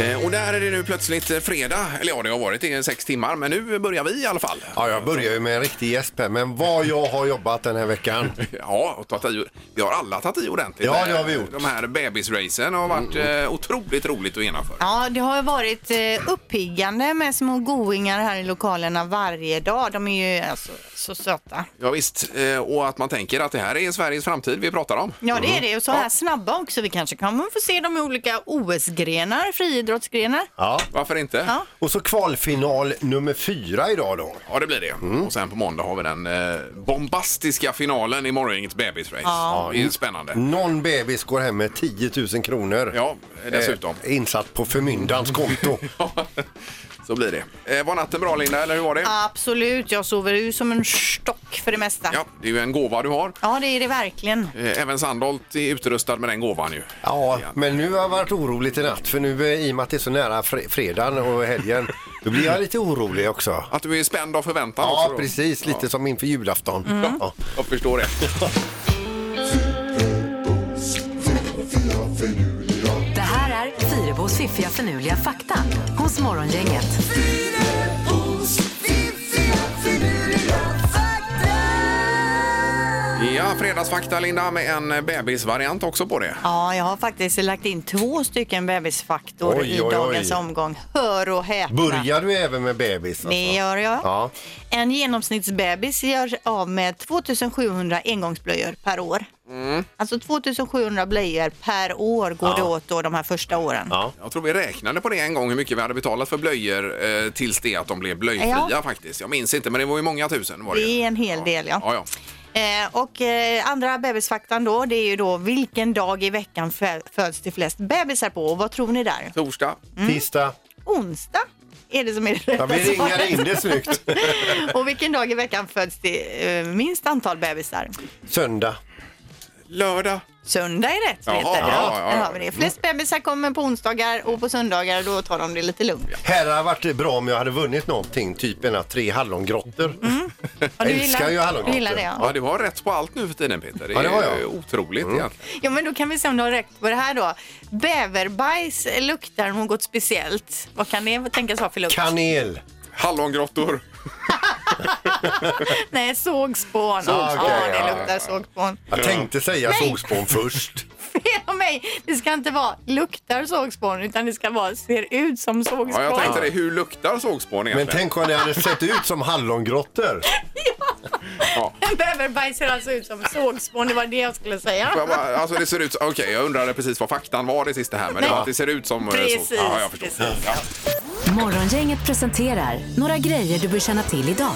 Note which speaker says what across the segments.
Speaker 1: Eh, är det nu plötsligt eh, fredag. Eller ja, det har varit i eh, sex timmar, men nu börjar vi i alla fall.
Speaker 2: Ja, jag börjar ju med en riktig gäsp här, men vad jag har jobbat den här veckan.
Speaker 1: Ja, och tagit i, vi har alla tagit i ordentligt.
Speaker 2: Ja, det har vi gjort. Mm,
Speaker 1: De här bebisracen har varit eh, otroligt roligt att genomföra.
Speaker 3: Ja, det har ju varit eh, uppiggande med små goingar här i lokalerna varje dag. De är ju alltså, så söta.
Speaker 1: Ja, visst, eh, och att man tänker att det här är Sveriges framtid vi pratar om.
Speaker 3: Ja,
Speaker 2: Mm.
Speaker 3: det är det. Och så här snabba också. Vi kanske kommer få se dem i olika OS-grenar, friidrottsgrenar.
Speaker 2: Ja.
Speaker 1: Varför inte?
Speaker 3: Ja.
Speaker 2: Och så kvalfinal nummer fyra idag då.
Speaker 1: Ja, det blir det.
Speaker 2: Mm.
Speaker 1: Och sen på måndag har vi den eh, bombastiska finalen i morgongängets bebisrace. Ja. Det är spännande.
Speaker 2: Någon bebis går hem med 10 000 kronor.
Speaker 1: Ja, dessutom.
Speaker 2: Eh, insatt på förmyndarens konto.
Speaker 1: Så blir det. Eh, var natten bra, Linda, eller hur var det?
Speaker 3: Absolut, jag sover ju som en stock för det mesta.
Speaker 1: Ja, det är ju en gåva du har.
Speaker 3: Ja, det är det verkligen.
Speaker 1: Eh, Även Sandholt är utrustad med den gåvan ju.
Speaker 2: Ja, men nu har jag varit orolig i natt för nu eh, i och med att det är så nära fre- fredagen och helgen, då blir jag lite orolig också.
Speaker 1: Att du är spänd av förväntan också.
Speaker 2: Ja,
Speaker 1: då.
Speaker 2: precis. Lite som inför julafton.
Speaker 3: Mm.
Speaker 2: Ja.
Speaker 1: Jag förstår det.
Speaker 4: Det här är Fyrabos fiffiga förnuliga fakta hos Morgongänget.
Speaker 1: Ja, fredagsfakta, Linda, med en bebisvariant också på det.
Speaker 3: Ja, jag har faktiskt lagt in två stycken bebisfaktor
Speaker 2: Oj,
Speaker 3: i
Speaker 2: oj, oj.
Speaker 3: dagens omgång. Hör och häpna.
Speaker 2: Börjar du även med bebis? Alltså?
Speaker 3: Det gör jag.
Speaker 2: Ja.
Speaker 3: En genomsnittsbebis gör av med 2700 engångsblöjor per år.
Speaker 2: Mm.
Speaker 3: Alltså 2700 blöjor per år går det åt då de här första åren.
Speaker 2: Ja.
Speaker 1: Jag tror vi räknade på det en gång hur mycket vi hade betalat för blöjor eh, tills det att de blev blöjfria
Speaker 3: Ja.
Speaker 1: faktiskt. Jag minns inte men det var ju många tusen var det, ju.
Speaker 3: Det är en hel del ja.
Speaker 1: Ja, ja.
Speaker 3: Eh, och eh, andra bebisfaktan då det är ju då vilken dag i veckan fö- föds det flest bebisar på och vad tror ni där?
Speaker 1: Torsdag.
Speaker 3: Mm.
Speaker 2: Tisdag.
Speaker 3: Onsdag är det som är det
Speaker 2: Ja,
Speaker 3: rätta
Speaker 2: vi ringar
Speaker 3: svaret.
Speaker 2: in det snyggt.
Speaker 3: Och vilken dag i veckan föds det eh, minst antal bebisar?
Speaker 2: Söndag.
Speaker 1: Lördag.
Speaker 3: Söndag är rätt,
Speaker 1: Jaha,
Speaker 3: Peter.
Speaker 1: ja, ja, ja.
Speaker 3: där har vi det. Flest bebisar kommer på onsdagar och på söndagar då tar de det lite lugnt.
Speaker 2: Här hade varit bra om jag hade vunnit någonting, typ ena tre hallongrottor.
Speaker 1: Mm.
Speaker 3: Ja,
Speaker 2: Jag älskar ju hallongrottor.
Speaker 3: Du gillar det,
Speaker 1: Ja.
Speaker 3: ja.
Speaker 1: du har rätt på allt nu för tiden Peter. Det är
Speaker 2: Ja, det har
Speaker 1: ju
Speaker 2: jag. Mm.
Speaker 1: otroligt egentligen.
Speaker 3: ja, men då kan vi se om du har rätt på det här då. Bäverbajs luktar något speciellt. Vad kan det tänkas vara för lukt?
Speaker 2: Kanel.
Speaker 1: Hallongrottor.
Speaker 3: Nej, sågspån.
Speaker 2: Ah, okej,
Speaker 3: ja, det
Speaker 2: ja,
Speaker 3: luktar sågspån.
Speaker 2: Jag tänkte säga
Speaker 3: Nej.
Speaker 2: sågspån först.
Speaker 3: Fel av mig! Det ska inte vara luktar sågspån utan det ska vara ser ut som sågspån.
Speaker 1: Ja, jag tänkte det. Hur luktar sågspån
Speaker 2: Men
Speaker 1: egentligen?
Speaker 2: tänk om det hade sett ut som hallongrottor.
Speaker 1: Ja.
Speaker 3: En bäverbajs ser alltså ut som sågspån, det var det jag skulle säga.
Speaker 1: Får jag bara- Alltså det ser ut Okej, jag undrade precis vad faktan var det sista här men det,
Speaker 3: Nej.
Speaker 1: var att det ser ut som eh,
Speaker 3: Precis,
Speaker 1: så. Ja, jag förstår.
Speaker 3: precis.
Speaker 1: Ja.
Speaker 4: Morgongänget presenterar några grejer du bör känna till idag.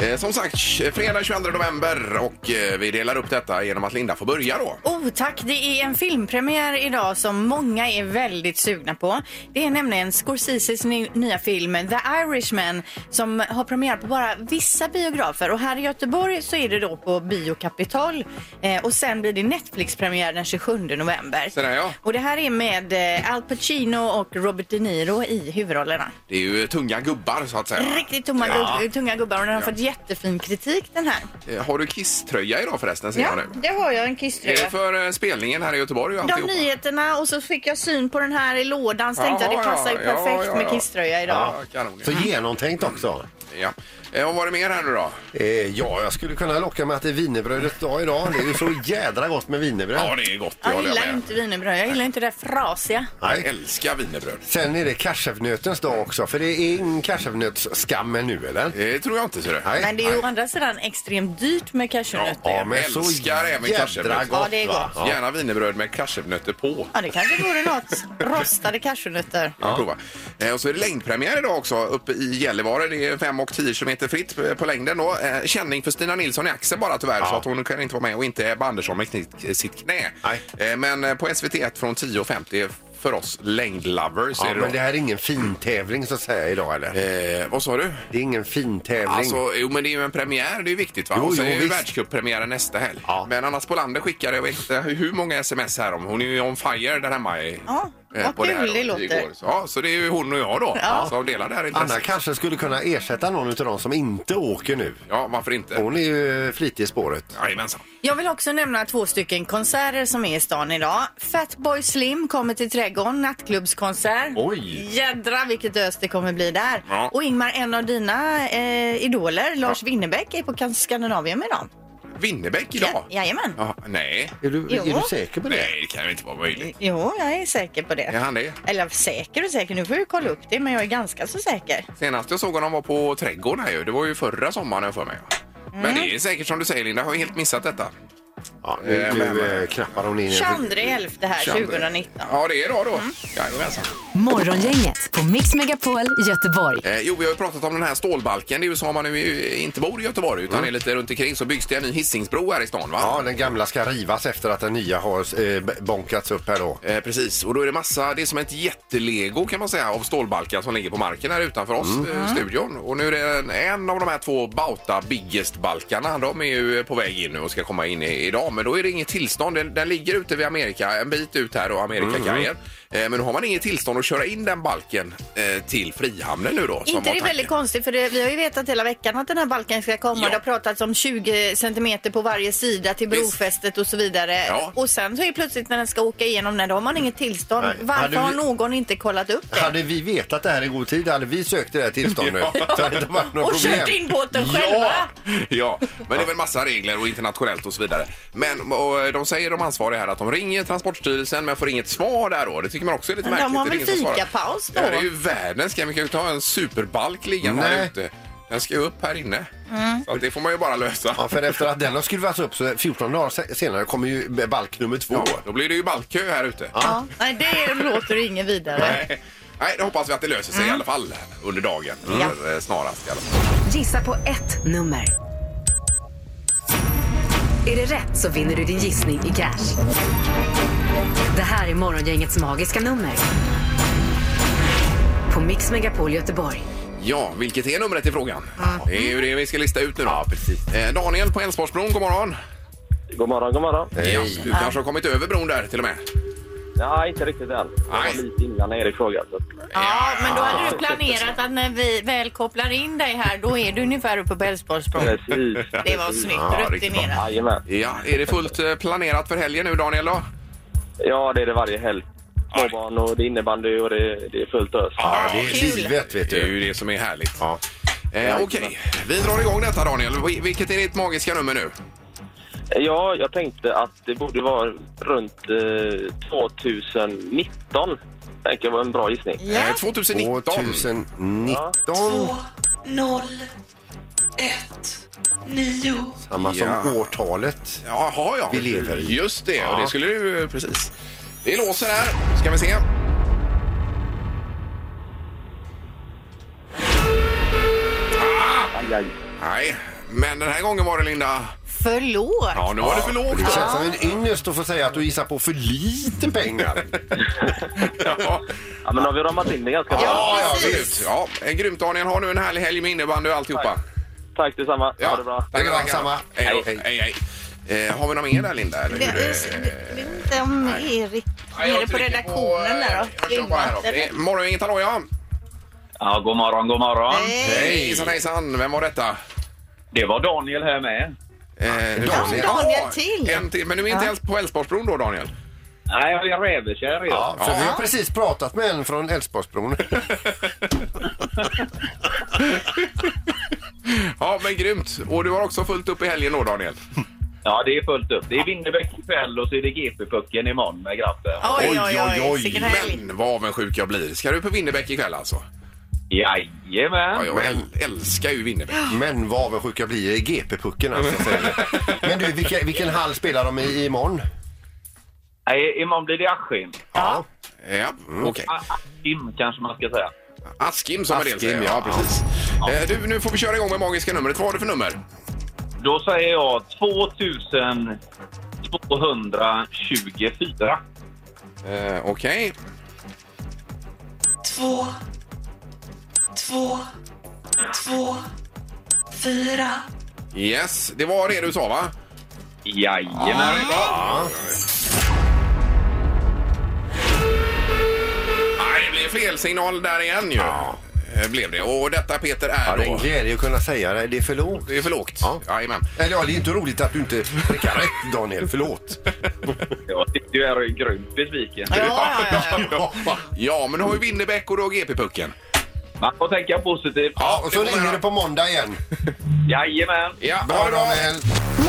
Speaker 1: Eh, som sagt, fredag 22 november och eh, vi delar upp detta genom att Linda får börja då.
Speaker 3: Oh tack, det är en filmpremiär idag som många är väldigt sugna på. Det är nämligen Scorseses ny, nya film The Irishman som har premiär på bara vissa biografer och här i Göteborg så är det då på Bio Capital eh, och sen blir det Netflix-premiär den 27 november.
Speaker 1: Så där, ja.
Speaker 3: Och det här är med eh, Al Pacino och Robert De Niro i huvudrollerna.
Speaker 1: Det är ju tunga gubbar så att säga.
Speaker 3: Riktigt tomma,
Speaker 1: Ja.
Speaker 3: gub- tunga gubbar och den har
Speaker 1: Ja.
Speaker 3: fått jättefin kritik den här.
Speaker 1: Eh, Har du kisströja idag förresten? Ser
Speaker 3: Ja,
Speaker 1: jag nu.
Speaker 3: det har jag en
Speaker 1: Är
Speaker 3: kisströja.
Speaker 1: det för eh, spelningen här i Göteborg och
Speaker 3: de
Speaker 1: alltihopa?
Speaker 3: nyheterna och så fick jag syn på den här i lådan så tänkte jag
Speaker 1: Jaha,
Speaker 3: det passar ju
Speaker 1: ja,
Speaker 3: perfekt
Speaker 1: ja, ja, ja.
Speaker 3: med kisströja idag.
Speaker 1: Ja, kanon.
Speaker 2: Så genomtänkt också.
Speaker 1: Ja. Eh, Vad var det mer här nu då?
Speaker 2: Eh, ja, jag skulle kunna locka med att det är wienerbrödets dag idag. Det är ju så jädra gott med
Speaker 1: Ja,
Speaker 2: wienerbröd.
Speaker 1: det är gott. det
Speaker 3: Jag
Speaker 1: håller
Speaker 3: gillar
Speaker 1: med.
Speaker 3: inte wienerbröd, jag gillar inte det frasiga.
Speaker 1: Jag
Speaker 2: Nej.
Speaker 1: älskar wienerbröd.
Speaker 2: Sen är det karsevnötens dag också, för det är ingen karsevnötsskam nu eller?
Speaker 1: Det tror jag inte. Ser du.
Speaker 2: Nej.
Speaker 3: Men det är ju å andra sidan extremt dyrt med cashewnötter.
Speaker 2: Ja, men så
Speaker 1: Älskar även
Speaker 2: jädra
Speaker 1: karsevnöt.
Speaker 2: gott.
Speaker 3: Ja, det är
Speaker 2: va?
Speaker 3: gott.
Speaker 2: Ja.
Speaker 1: Gärna wienerbröd med cashewnötter på.
Speaker 3: Ja, det kanske vore något. Rostade cashewnötter.
Speaker 1: Ja. Prova. Eh, Och så är det längdpremiär idag också uppe i Gällivare. Det är 5 och 10 kilometer fritt på- på längden då. Eh, Känning för Stina Nilsson i axeln bara tyvärr så att hon kan inte vara med och inte Ebba Andersson med knitt, sitt knä.
Speaker 2: Nej.
Speaker 1: Eh, Men eh, på SVT1 från 10.50 för oss längdlovers.
Speaker 2: Ja,
Speaker 1: är det då.
Speaker 2: men det här är ingen fin tävling så att säga idag eller?
Speaker 1: Eh, vad sa du?
Speaker 2: Det är ingen fin tävling.
Speaker 1: Alltså, jo, men det är ju en premiär, det är ju viktigt. Va?
Speaker 2: Jo,
Speaker 1: och sen
Speaker 2: jo,
Speaker 1: är ju
Speaker 2: visst.
Speaker 1: världscuppremiären nästa helg.
Speaker 2: Ja.
Speaker 1: Men Anna Spolander skickade, jag vet inte hur många sms här om. Hon är ju on fire där hemma. I,
Speaker 3: Ja.
Speaker 1: eh,
Speaker 3: Vad
Speaker 1: på det här
Speaker 3: kul det
Speaker 1: då,
Speaker 3: låter.
Speaker 1: Igår. Så, ja, så det är ju hon och jag då
Speaker 3: Ja.
Speaker 1: som delar det här
Speaker 2: Anna
Speaker 1: intresset.
Speaker 2: kanske skulle kunna ersätta någon av dem som inte åker nu.
Speaker 1: Ja, varför inte?
Speaker 2: Hon är ju flitig i spåret.
Speaker 1: Jajamensan.
Speaker 3: Jag vill också nämna två stycken konserter som är i stan idag. Fatboy Slim kommer till Trädgården, nattklubbskonsert.
Speaker 2: Oj.
Speaker 3: Jädra vilket ös det kommer bli där.
Speaker 1: Ja.
Speaker 3: Och Ingmar, en av dina eh, idoler, Lars Winnerbäck, är på Kan- Skandinavien idag.
Speaker 1: Vinnebäck idag?
Speaker 3: Jajamän.
Speaker 1: Ja, nej.
Speaker 2: Är du,
Speaker 3: Jo.
Speaker 2: är du säker på det?
Speaker 1: nej, det kan ju inte vara möjligt.
Speaker 3: Jo, jag är säker på det.
Speaker 1: Är han det?
Speaker 3: Eller säker och säker, nu får vi kolla upp det, men jag är ganska så säker.
Speaker 1: Senast jag såg honom var på Trädgården här ju. Det var ju förra sommaren har jag för mig.
Speaker 3: Mm.
Speaker 1: Men det är säkert som du säger Linda, jag har helt missat detta.
Speaker 2: Ja, nu,
Speaker 1: Eh,
Speaker 2: nu
Speaker 1: men-
Speaker 2: eh, knappar hon in.
Speaker 3: 22 11 här, 2019.
Speaker 1: Ja, det är idag då.
Speaker 3: Mm.
Speaker 1: Jajamensan.
Speaker 4: Morgongänget på Mix Megapol Göteborg.
Speaker 1: Eh, jo, vi har ju pratat om den här stålbalken. Det är ju som om man nu inte bor i Göteborg utan är lite runt omkring så byggs det en ny Hisingsbro här i stan va?
Speaker 2: Ja, den gamla ska rivas efter att den nya har eh, b- bonkats upp här då.
Speaker 1: Eh, precis, och då är det massa, det är som ett jättelego kan man säga av stålbalkar som ligger på marken här utanför oss, eh, studion. Och nu är det en, en av de här två Bauta Biggest-balkarna, de är ju på väg in nu och ska komma in i, idag. Men då är det inget tillstånd, den, den ligger ute vid Amerika, en bit ut här då, Amerikakajen. Eh, men då har man inget tillstånd att köra in den balken eh, till Frihamnen nu då.
Speaker 3: Inte
Speaker 1: som var
Speaker 3: det är
Speaker 1: tanken.
Speaker 3: väldigt konstigt för det, vi har ju vetat hela veckan att den här balken ska komma.
Speaker 1: Ja.
Speaker 3: Det har pratats om 20 centimeter på varje sida till
Speaker 1: Visst.
Speaker 3: brofästet och så vidare.
Speaker 1: Ja.
Speaker 3: Och sen så är det plötsligt när den ska åka igenom den, då har man inget tillstånd.
Speaker 2: Nej.
Speaker 3: Varför
Speaker 2: Hade
Speaker 3: har
Speaker 2: vi-
Speaker 3: någon inte kollat upp det?
Speaker 2: Hade vi vetat det här i god tid hade vi sökt det här tillståndet. Så hade det inte varit något
Speaker 3: Och kört
Speaker 2: problem.
Speaker 3: in båten själva?
Speaker 1: Ja, men det är väl massa regler och internationellt och så vidare. Men och eh, de säger de ansvariga här att de ringer Transportstyrelsen men får inget svar där då. Det tycker man också är lite
Speaker 3: Men de
Speaker 1: märkligt.
Speaker 3: har
Speaker 1: Det är
Speaker 3: väl
Speaker 1: ingen som svarar.
Speaker 3: fikapaus då?
Speaker 1: Ja, det är ju världens grej. Vi kan ju ta en superbalk liggande här
Speaker 2: Nej.
Speaker 1: ute. Den ska ju upp här inne.
Speaker 3: Mm.
Speaker 1: Så att det får man ju bara lösa.
Speaker 2: Ja, för efter att den har skruvats upp så 14 dagar se- senare kommer ju b- balk nummer två.
Speaker 1: Ja, då blir det ju balkkö här ute.
Speaker 3: Ja. Nej, det låter ju inget vidare.
Speaker 1: Nej, Nej, det hoppas vi att det löser sig i alla fall under dagen.
Speaker 3: Mm. Ja.
Speaker 1: Eh, Snarast i alla fall.
Speaker 4: Gissa på ett nummer. Är det rätt så vinner du din gissning i cash. Det här är Morgongängets magiska nummer. På Mix Megapol Göteborg.
Speaker 1: Ja, vilket är numret i frågan? Det är ju det vi ska lista ut nu då.
Speaker 2: Ja, precis.
Speaker 1: Eh, Daniel på Älvsborgsbron, god morgon.
Speaker 5: God morgon, god morgon.
Speaker 1: Ja, du kanske har kommit över bron där till och med?
Speaker 5: Nej, inte riktigt än. Det
Speaker 1: Nej.
Speaker 5: var lite innan Erik frågade. så.
Speaker 3: Ja, men då hade du planerat att när vi väl kopplar in dig här, då är du ungefär uppe på Älvsborgsbron.
Speaker 5: Precis.
Speaker 3: Det var snyggt
Speaker 1: Ja, riktigt bra.
Speaker 3: rutinerat.
Speaker 5: Jajamän.
Speaker 1: Ja, är det fullt eh, planerat för helgen nu Daniel då?
Speaker 5: Ja, det är det varje helg. Småbarn och det är innebandy och det, det är fullt ös.
Speaker 1: Ja,
Speaker 2: Det är
Speaker 3: Kul.
Speaker 2: givet, vet
Speaker 1: det är
Speaker 2: du.
Speaker 1: ju det som är härligt.
Speaker 2: Ja.
Speaker 1: Eh, Okej, vi drar igång detta Daniel. Vi- Vilket är ditt magiska nummer nu?
Speaker 5: Ja, jag tänkte att det borde vara runt eh, 2019. Tänker jag var en bra gissning.
Speaker 3: Ja.
Speaker 1: Eh, 2019.
Speaker 2: 2019. Samma som
Speaker 1: Ja.
Speaker 2: årtalet.
Speaker 1: Jaha, ja.
Speaker 2: Vi lever i.
Speaker 1: Just det, och
Speaker 2: Ja.
Speaker 1: det skulle du eh, precis. Det låser här. Ska vi se.
Speaker 5: Aj, aj.
Speaker 1: Nej, men den här gången var det Linda.
Speaker 3: För lågt.
Speaker 1: Ja, nu var det för
Speaker 2: Det
Speaker 1: lågt.
Speaker 2: känns som en ynnest att få säga att du gissar på för lite pengar.
Speaker 1: Ja,
Speaker 5: Ja, men har vi ramat in det ganska bra?
Speaker 1: ja, ja,
Speaker 3: precis.
Speaker 1: absolut. Ja, eh, grymt Daniel. Ha nu en härlig helg med innebandy och alltihopa.
Speaker 5: Tack detsamma.
Speaker 1: Ja,
Speaker 5: Ha det bra.
Speaker 1: Tackar,
Speaker 2: bra,
Speaker 1: tackar.
Speaker 2: samma.
Speaker 1: Hej, då.
Speaker 2: Hej.
Speaker 1: hej. hej. Eh, har vi någon mer där Linda? Eller hur
Speaker 3: Det
Speaker 1: det-
Speaker 3: är- det- det är inte om Erik
Speaker 1: Nej, jag
Speaker 3: nere på
Speaker 1: trycker
Speaker 3: redaktionen där
Speaker 1: eh, Jag kör bara här då. Eh,
Speaker 3: då.
Speaker 1: Morgon, inget hallå ja.
Speaker 6: Ja, god morgon, god morgon.
Speaker 1: Hej, hejsan, hejsan. Vem var detta?
Speaker 6: Det var Daniel här med.
Speaker 1: Eh,
Speaker 2: Daniel.
Speaker 1: Ja,
Speaker 3: till.
Speaker 1: En till. Men nu är inte helt på Älvsborgsbron då, Daniel?
Speaker 6: Nej, jag är rävekär i
Speaker 2: Ja, för vi har precis pratat med en från Älvsborgsbron.
Speaker 1: Ja, men grymt. Och du har också fullt upp i helgen då, Daniel?
Speaker 6: Ja, det är fullt upp. Det är Winnerbäck ikväll och så är det GP-pucken imorgon med grabben.
Speaker 3: Oj, oj, oj. Vilken helg.
Speaker 1: Men vad avundsjuk jag blir. Ska du på Winnerbäck ikväll alltså? Ja,
Speaker 6: Jajamän!
Speaker 1: jag äl- älskar ju Winnerbäck.
Speaker 2: Men vad avundsjuk jag blir i GP-pucken alltså. säger jag. Men du, vilken, vilken hall spelar de i imorgon?
Speaker 6: Nej, imorgon blir det Askim.
Speaker 2: Ja.
Speaker 1: Ja, okej.
Speaker 6: A- Askim kanske man ska säga.
Speaker 1: Askim som en del
Speaker 2: Askim,
Speaker 1: säger.
Speaker 2: ja.
Speaker 1: Ja, precis. Eh, du, nu får vi köra igång med magiska numret. Vad har du för nummer?
Speaker 6: Då säger jag 2224.
Speaker 1: Eh, okej.
Speaker 7: två, två, två, fyra.
Speaker 1: Yes, det var det du sa va? Ah.
Speaker 6: Jajamän!
Speaker 1: är felsignal där igen ju. Eh, Blev det. Och detta Peter
Speaker 2: Ja,
Speaker 1: är
Speaker 2: det är en
Speaker 1: då...
Speaker 2: glädje att kunna säga det. Det är för lågt.
Speaker 1: Det är för lågt.
Speaker 2: Ja.
Speaker 1: Jajamän.
Speaker 2: Eller ja, det är inte roligt att du inte prickar rätt, Daniel. Förlåt.
Speaker 6: Jag sitter ju här och är grymt besviken.
Speaker 3: Ja, ja, ja, ja.
Speaker 1: Ja, men du har ju Winnerbäck och du har GP-pucken.
Speaker 6: Man får tänka positivt.
Speaker 1: Ja,
Speaker 2: Och så ringer det på måndag igen.
Speaker 6: Jajamän!
Speaker 1: Ja, ha
Speaker 2: Bra,
Speaker 1: det bra.
Speaker 2: Daniel.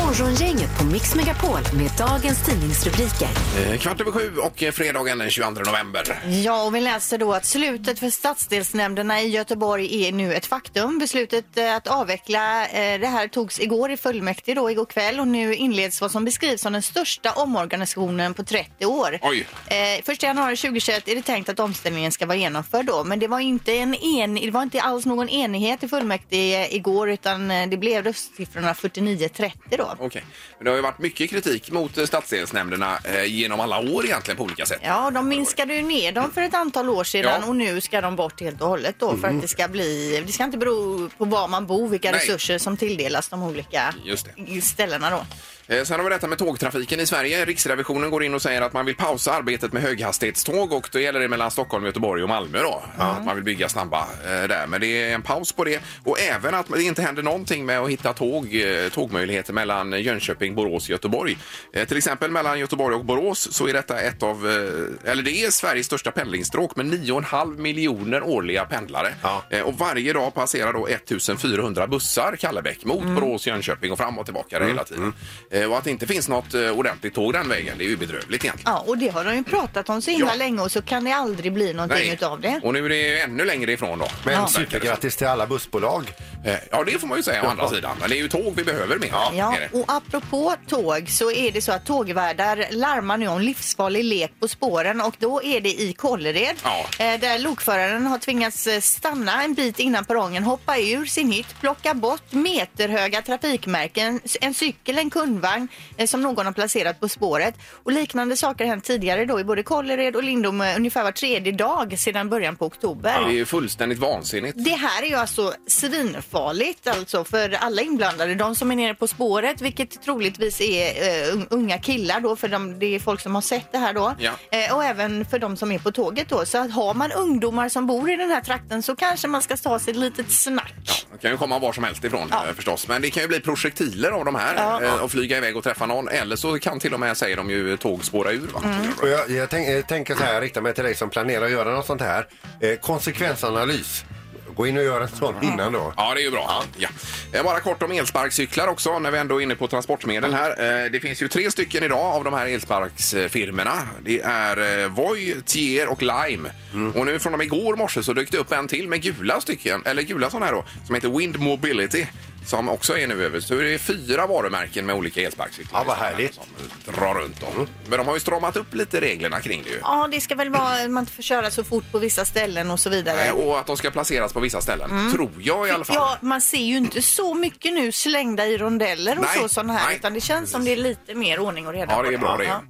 Speaker 4: Morgongänget på Mix Megapol med dagens tidningsrubriker.
Speaker 1: Eh, Kvart över sju och eh, fredagen den 22 november.
Speaker 3: Ja, och vi läser då att slutet för stadsdelsnämnderna i Göteborg är nu ett faktum. Beslutet eh, att avveckla eh, det här togs igår i fullmäktige då igår kväll och nu inleds vad som beskrivs som den största omorganisationen på 30 år.
Speaker 1: Oj.
Speaker 3: Eh, första januari 2021 är det tänkt att omställningen ska vara genomförd då, men det var inte, en en, det var inte alls någon enighet i fullmäktige igår utan eh, det blev röstsiffrorna 49-30 då.
Speaker 1: Okej. Men det har ju varit mycket kritik mot eh, stadsdelsnämnderna eh, genom alla år egentligen på olika sätt.
Speaker 3: Ja, de minskade ju ner dem för ett antal år sedan
Speaker 1: Ja. Mm.
Speaker 3: och nu ska de bort helt och hållet då för att det ska bli, det ska inte bero på var man bor vilka
Speaker 1: Nej.
Speaker 3: resurser som tilldelas de olika
Speaker 1: Just
Speaker 3: ställena då.
Speaker 1: Eh, Sen har vi detta med tågtrafiken i Sverige. Riksrevisionen går in och säger att man vill pausa arbetet med höghastighetståg och då gäller det mellan Stockholm, Göteborg och Malmö då. Att man vill bygga snabba eh, där. Men det är en paus på det och även att det inte händer någonting med att hitta tåg, eh, tågmöjligheter mellan Jönköping, Borås och Göteborg. Eh, Till exempel mellan Göteborg och Borås så är detta ett av, eh, eller det är Sveriges största pendlingsstråk med 9,5 miljoner årliga pendlare.
Speaker 2: Ja.
Speaker 1: Eh, Och varje dag passerar då 1400 bussar Kallebäck mot
Speaker 3: Mm.
Speaker 1: Borås, Jönköping och fram och tillbaka hela tiden. Eh, Och att det inte finns något eh, ordentligt tåg den vägen, det är ju bedrövligt egentligen.
Speaker 3: Ja, och det har de ju pratat om så himla
Speaker 1: Ja.
Speaker 3: länge och så kan det aldrig bli någonting utav det.
Speaker 1: Och nu är det ju ännu längre ifrån då.
Speaker 2: Men
Speaker 1: verkar det som.
Speaker 2: supergrattis till alla bussbolag.
Speaker 1: Eh, Ja, det får man ju säga å andra sidan. Men det är ju tåg vi behöver mer.
Speaker 3: Ja,
Speaker 1: är det.
Speaker 3: och apropå tåg så är det så att tågvärdar larmar nu om livsfarlig lek på spåren och då är det i Kållered
Speaker 1: Ja.
Speaker 3: eh, där lokföraren har tvingats eh, stanna en bit innan perrongen, hoppa ur sin hytt, plocka bort meterhöga trafikmärken, s- en cykel, en kundvagn eh, som någon har placerat på spåret och liknande saker har hänt tidigare då i både Kållered och Lindom eh, ungefär var tredje dag sedan början på oktober.
Speaker 1: Det är ju fullständigt vansinnigt.
Speaker 3: Det här är ju alltså svinfarligt alltså för alla inblandade. De som är nere på spåret, vilket troligtvis är eh, un- unga killar då, för de, det är folk som har sett det här då.
Speaker 1: Ja.
Speaker 3: Eh, och även för de som är på tåget då. Så att har man ungdomar som bor i den här trakten så kanske man ska ta sig ett litet snack.
Speaker 1: De kan ju komma var som helst ifrån
Speaker 3: Ja.
Speaker 1: eh, förstås. Men det kan ju bli projektiler av de här
Speaker 3: Ja.
Speaker 1: eh, och flyga iväg och träffa någon. Eller så kan till och med, säger de ju, tåg spåra ur. Va?
Speaker 3: Mm.
Speaker 2: Och jag, jag, tänk, jag tänker så här, jag riktar mig till dig som planerar att göra något sånt här. Eh, konsekvensanalys. Gå in och gör en sån innan då.
Speaker 1: Ja, det är ju bra. Ja. Eh, Bara kort om elsparkcyklar också, när vi ändå är inne på transportmedel här. Eh, Det finns ju tre stycken idag av de här elsparksfirmorna. Det är eh, Voi, Tier och Lime.
Speaker 2: Mm.
Speaker 1: Och nu från och med igår morse så dök det upp en till med gula stycken, eller gula sådana här då, som heter Wind Mobility. Som också är nu över. Så det är fyra varumärken med olika elsparkcyklar.
Speaker 2: Ja, vad härligt. Mm.
Speaker 1: Som drar runt dem. Men de har ju stramat upp lite reglerna kring det ju.
Speaker 3: Ja, det ska väl vara man inte får köra så fort på vissa ställen och så vidare.
Speaker 1: Eh, Och att de ska placeras på vissa ställen. Tror jag i alla fall.
Speaker 3: Mm. Ja, man ser ju inte så mycket nu slängda i rondeller och
Speaker 1: Nej,
Speaker 3: så sådana här
Speaker 1: nej.
Speaker 3: utan det känns som det är lite mer ordning och reda.
Speaker 1: Ja,
Speaker 3: på
Speaker 1: det är bra det.
Speaker 3: Ja.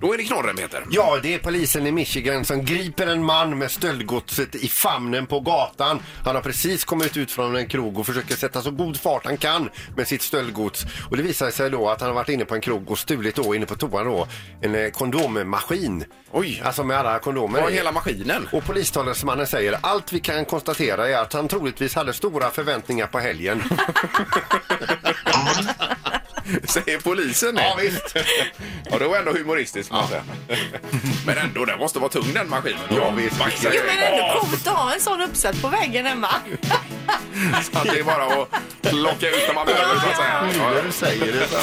Speaker 1: Då är det knorren, Peter.
Speaker 2: Ja, det är polisen i Michigan som griper en man med stöldgodset i famnen på gatan. Han har precis kommit ut från en krog och försöker sätta så god fart han kan med sitt stöldgods. Och det visar sig då att han har varit inne på en krog och stulit då inne på toan då en eh, kondommaskin.
Speaker 1: Oj.
Speaker 2: Alltså med alla kondomer.
Speaker 1: Ja,
Speaker 2: i.
Speaker 1: hela maskinen.
Speaker 2: Och polistalesmannen säger allt vi kan konstatera är att han troligtvis hade stora förväntningar på helgen.
Speaker 1: Säger polisen det?
Speaker 2: Ja, visst.
Speaker 1: Ja, det var ändå humoristiskt. Ja. men ändå, den måste vara tung den maskinen.
Speaker 2: Ja, visst.
Speaker 1: Baxar
Speaker 3: Jo,
Speaker 1: iväg.
Speaker 3: men ändå coolt att ha en sån uppsatt på väggen hemma.
Speaker 1: Så att det är bara att plocka ut när man behöver så att säga.
Speaker 2: Nu
Speaker 1: Ja,
Speaker 2: när du säger det. så.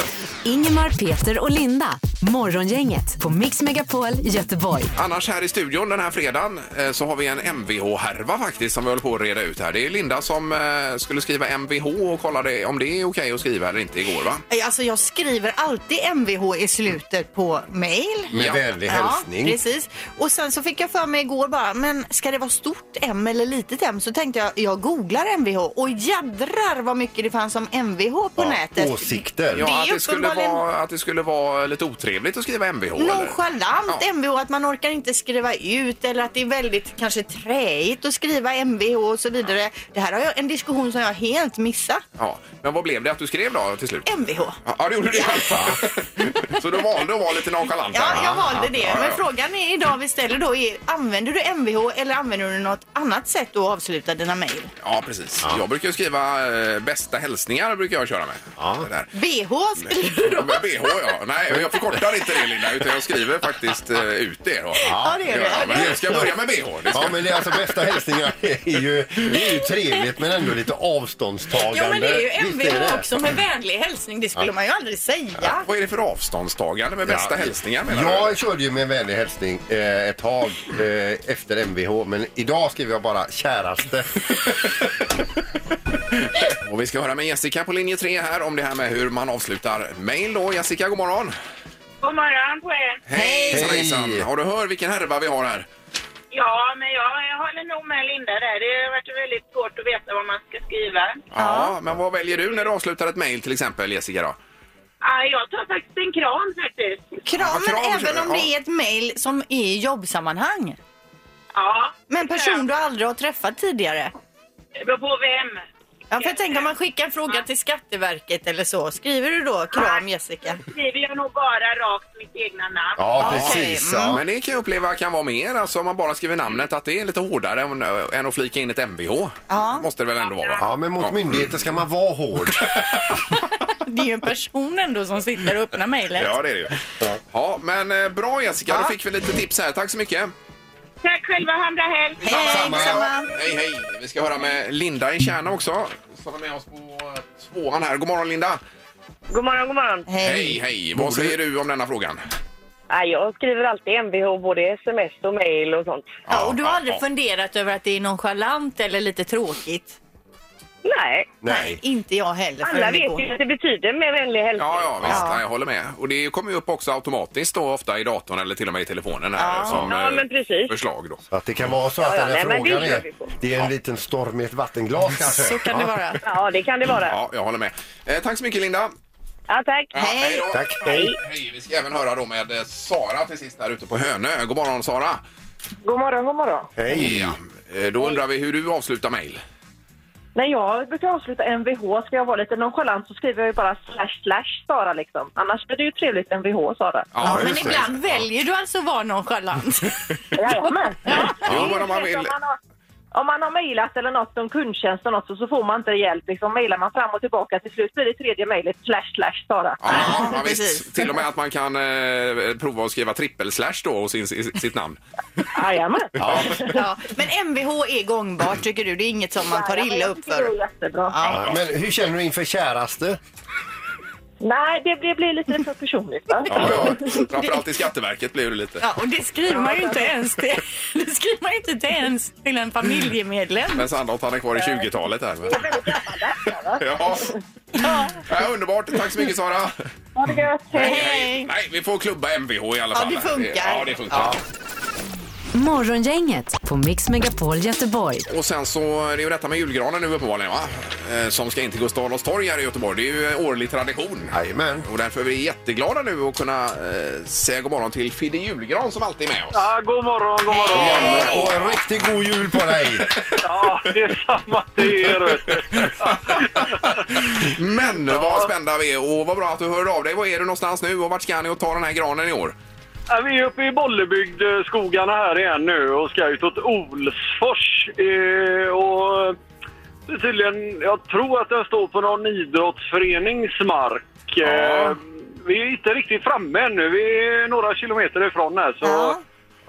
Speaker 4: Ingemar, Peter och Linda. Morgongänget på Mix Megapol Göteborg.
Speaker 1: Annars här i studion den här fredagen eh, så har vi en MVH-härva faktiskt som vi håller på att reda ut här. Det är Linda som eh, skulle skriva MVH och kollade om det är okej att skriva eller inte igår va?
Speaker 3: Nej, Alltså jag skriver alltid MVH i slutet på mail.
Speaker 2: Med
Speaker 1: Ja.
Speaker 2: vänlig hälsning.
Speaker 3: Ja, precis. Och sen så fick jag för mig igår bara, men ska det vara stort M eller litet M? Så tänkte jag, jag googlar MVH och jädrar vad mycket det fanns om MVH på
Speaker 2: Ja,
Speaker 3: nätet.
Speaker 2: Åsikter.
Speaker 1: Ja,
Speaker 3: är
Speaker 1: att det, skulle
Speaker 3: uppenbarligen-
Speaker 1: vara, att det skulle vara lite otrevligt att skriva MVH? eller?
Speaker 3: Nonchalant MVH, att man orkar inte skriva ut eller att det är väldigt kanske träigt att skriva MVH och så vidare. Det här har jag en diskussion som jag helt missat.
Speaker 1: Ja, men vad blev det att du skrev då till slut?
Speaker 3: MVH.
Speaker 1: Ja, det gjorde du i alla fall. Så du valde att vara lite nonchalant
Speaker 3: Ja,
Speaker 1: här.
Speaker 3: jag valde
Speaker 1: Ja,
Speaker 3: det.
Speaker 1: ja,
Speaker 3: Men
Speaker 1: ja.
Speaker 3: frågan är idag vi ställer då är, använder du MVH eller använder du något annat sätt att avsluta dina mejl?
Speaker 1: Ja, precis. Jag brukar ju skriva eh, bästa hälsningar brukar jag köra med. Det där.
Speaker 3: BH skriver du då?
Speaker 1: Med BH, ja. Nej, jag förkortar inte det, Linda, utan jag skriver faktiskt eh, ut det. Då.
Speaker 3: Ja, det är det.
Speaker 1: Ja, men jag ska börja med BH. Det ska...
Speaker 2: Ja, men det är alltså bästa hälsningar är ju, det är ju trevligt men ändå lite avståndstagande.
Speaker 3: Ja, men det är ju
Speaker 2: Visst är det?
Speaker 3: MVH också med vänlig hälsning. Det skulle man ju aldrig säga.
Speaker 1: Vad är det för avståndstagande med bästa
Speaker 2: Ja.
Speaker 1: hälsningar, menar du?
Speaker 2: Jag körde ju med en vänlig hälsning eh, ett tag eh, efter MVH men idag skriver jag bara käraste.
Speaker 1: Och vi ska höra med Jessica på linje 3 här om det här med hur man avslutar mejl då. Jessica, god morgon!
Speaker 8: God morgon på er.
Speaker 1: Hej! Hejsan,
Speaker 2: Hej.
Speaker 1: hejsan. Ja, du hör vilken härva vi har här.
Speaker 8: Ja, men jag, jag håller nog med Linda där. Det har varit väldigt svårt att veta vad man ska skriva.
Speaker 1: Ja, men vad väljer du när du avslutar ett mejl till exempel, Jessica? Då?
Speaker 8: Ja, jag tar faktiskt en kram faktiskt.
Speaker 1: Ja,
Speaker 3: Kramen,
Speaker 1: kram,
Speaker 3: även om
Speaker 1: ja.
Speaker 3: det är ett mejl som är i jobbsammanhang.
Speaker 8: Ja.
Speaker 3: Med en person du aldrig har träffat tidigare.
Speaker 8: Det beror på vem.
Speaker 3: Ja, för jag tänker om man skickar en fråga till Skatteverket eller så. Skriver du då kram Jessica?
Speaker 8: Skriver jag nog bara rakt mitt egna namn.
Speaker 2: Ja,
Speaker 3: Okej,
Speaker 2: precis.
Speaker 3: mm.
Speaker 2: Ja.
Speaker 1: Men det kan jag uppleva kan vara mer, alltså om man bara skriver namnet, att det är lite hårdare än, eh, än att flika in ett MVH.
Speaker 3: Ja.
Speaker 1: Måste det väl ändå vara? va?
Speaker 2: Ja, men mot myndigheter ska man vara hård.
Speaker 3: Det är ju en person ändå som sitter och öppnar mejlet.
Speaker 1: Ja, det är det ju. Ja, men eh, bra Jessica, då fick vi lite tips här. Tack så mycket.
Speaker 8: Tack själva, ha en bra helg.
Speaker 3: Hej,
Speaker 2: Samma.
Speaker 3: samma.
Speaker 1: Hej, hej. Vi ska höra med Linda i Kärna också, som är med oss på eh, tvåan här. God morgon Linda!
Speaker 8: God morgon, god morgon.
Speaker 1: Hej, hej. Vad säger du om denna frågan?
Speaker 8: jag skriver alltid MVH, både sms och mail och sånt.
Speaker 3: Ja, och du har
Speaker 1: ja,
Speaker 3: aldrig
Speaker 1: ja.
Speaker 3: funderat över att det är nonchalant eller lite tråkigt?
Speaker 8: Nej,
Speaker 2: Nej.
Speaker 3: Inte jag heller. förrän
Speaker 8: alla
Speaker 3: det
Speaker 8: vet
Speaker 3: går.
Speaker 8: ju att det betyder med vänlig hälsning.
Speaker 1: Ja, ja, visst.
Speaker 3: Ja.
Speaker 1: Nej, jag håller med. Och det kommer ju upp också automatiskt då, ofta i datorn eller till och med i telefonen här som
Speaker 8: Ja,
Speaker 1: eh,
Speaker 8: men precis.
Speaker 1: förslag då.
Speaker 2: Att det kan vara så att
Speaker 8: Ja, ja,
Speaker 2: den här
Speaker 8: nej, men det
Speaker 2: frågan
Speaker 8: gör vi
Speaker 2: är,
Speaker 8: på.
Speaker 2: det är en liten storm i ett vattenglas kanske.
Speaker 3: Så kan det vara.
Speaker 8: Ja, det kan det vara.
Speaker 1: Ja, jag håller med. Eh, tack så mycket Linda!
Speaker 8: Ja, tack.
Speaker 1: Ja,
Speaker 3: Hej.
Speaker 1: då.
Speaker 2: Tack. Hej.
Speaker 1: Hej! Vi ska även höra då med eh, Sara till sist här ute på Hönö. God morgon Sara!
Speaker 8: God morgon, god morgon.
Speaker 2: Hej.
Speaker 1: Ja, eh, då undrar vi hur du avslutar mejl.
Speaker 8: När jag brukar avsluta MVH, ska jag vara lite nonchalant så skriver jag ju bara slash slash Sara liksom. Annars blir det ju trevligt MVH Sara.
Speaker 3: Ja, men
Speaker 1: just det.
Speaker 3: ibland väljer du alltså att vara nonchalant.
Speaker 8: Jajamän.
Speaker 1: Ja, men om man vill.
Speaker 8: Om man har- Om man har mejlat eller något om kundtjänst och något så, så får man inte hjälp. Liksom mejlar man fram och tillbaka till slut blir det tredje mejlet slash slash Sara.
Speaker 1: Ja, ja,
Speaker 3: Precis.
Speaker 1: visst. Till och med att man kan eh, prova att skriva trippelslash då och sin, i- sitt namn.
Speaker 8: Jajamän. Ja,
Speaker 3: Ja. Men MVH är gångbart tycker du? Det är inget som man tar illa upp
Speaker 8: Det är
Speaker 3: för?
Speaker 8: jättebra.
Speaker 2: Ja, Men hur känner du inför käraste?
Speaker 8: Nej, det blir, blir lite för personligt va?
Speaker 1: Ja, ja. Framförallt i Skatteverket blir det lite.
Speaker 3: Ja, och det skriver man ju inte ens till, det skriver man ju inte till ens till en familjemedlem.
Speaker 1: Men Sandholt han är kvar i 20-talet här. Men...
Speaker 8: Väldigt gammaldags, va?
Speaker 1: Ja. ja, underbart. Tack så mycket Sara.
Speaker 8: Ha det gött. Hej.
Speaker 3: Hej!
Speaker 1: Nej, vi får klubba MVH i alla
Speaker 3: Ja,
Speaker 1: fall.
Speaker 3: det funkar.
Speaker 1: Ja, det funkar.
Speaker 4: Morgongänget på Mix Megapol Göteborg.
Speaker 1: Och sen så, det är ju detta med julgranen nu uppenbarligen va? Eh, Som ska in till Gustav Adolfs torg här i Göteborg. Det är ju en årlig tradition.
Speaker 2: Jajamän.
Speaker 1: Och därför är vi jätteglada nu att kunna eh, säga god morgon till Fidde Julgran som alltid är med oss.
Speaker 6: Ja, god morgon, god morgon!
Speaker 2: Och en riktigt god jul på dig!
Speaker 6: Ja, det är samma till er.
Speaker 1: Men vad spända vi är och vad bra att du hörde av dig. Var är du någonstans nu och vart ska ni och ta den här granen i år?
Speaker 6: Ja, Vi är uppe i Bollebygd, eh, skogarna här igen nu och ska ut åt Olsfors. Eh, och det är tydligen, jag tror att den står på någon idrottsförenings mark.
Speaker 1: Ja.
Speaker 6: Eh, vi är inte riktigt framme ännu, vi är några kilometer ifrån här. Så,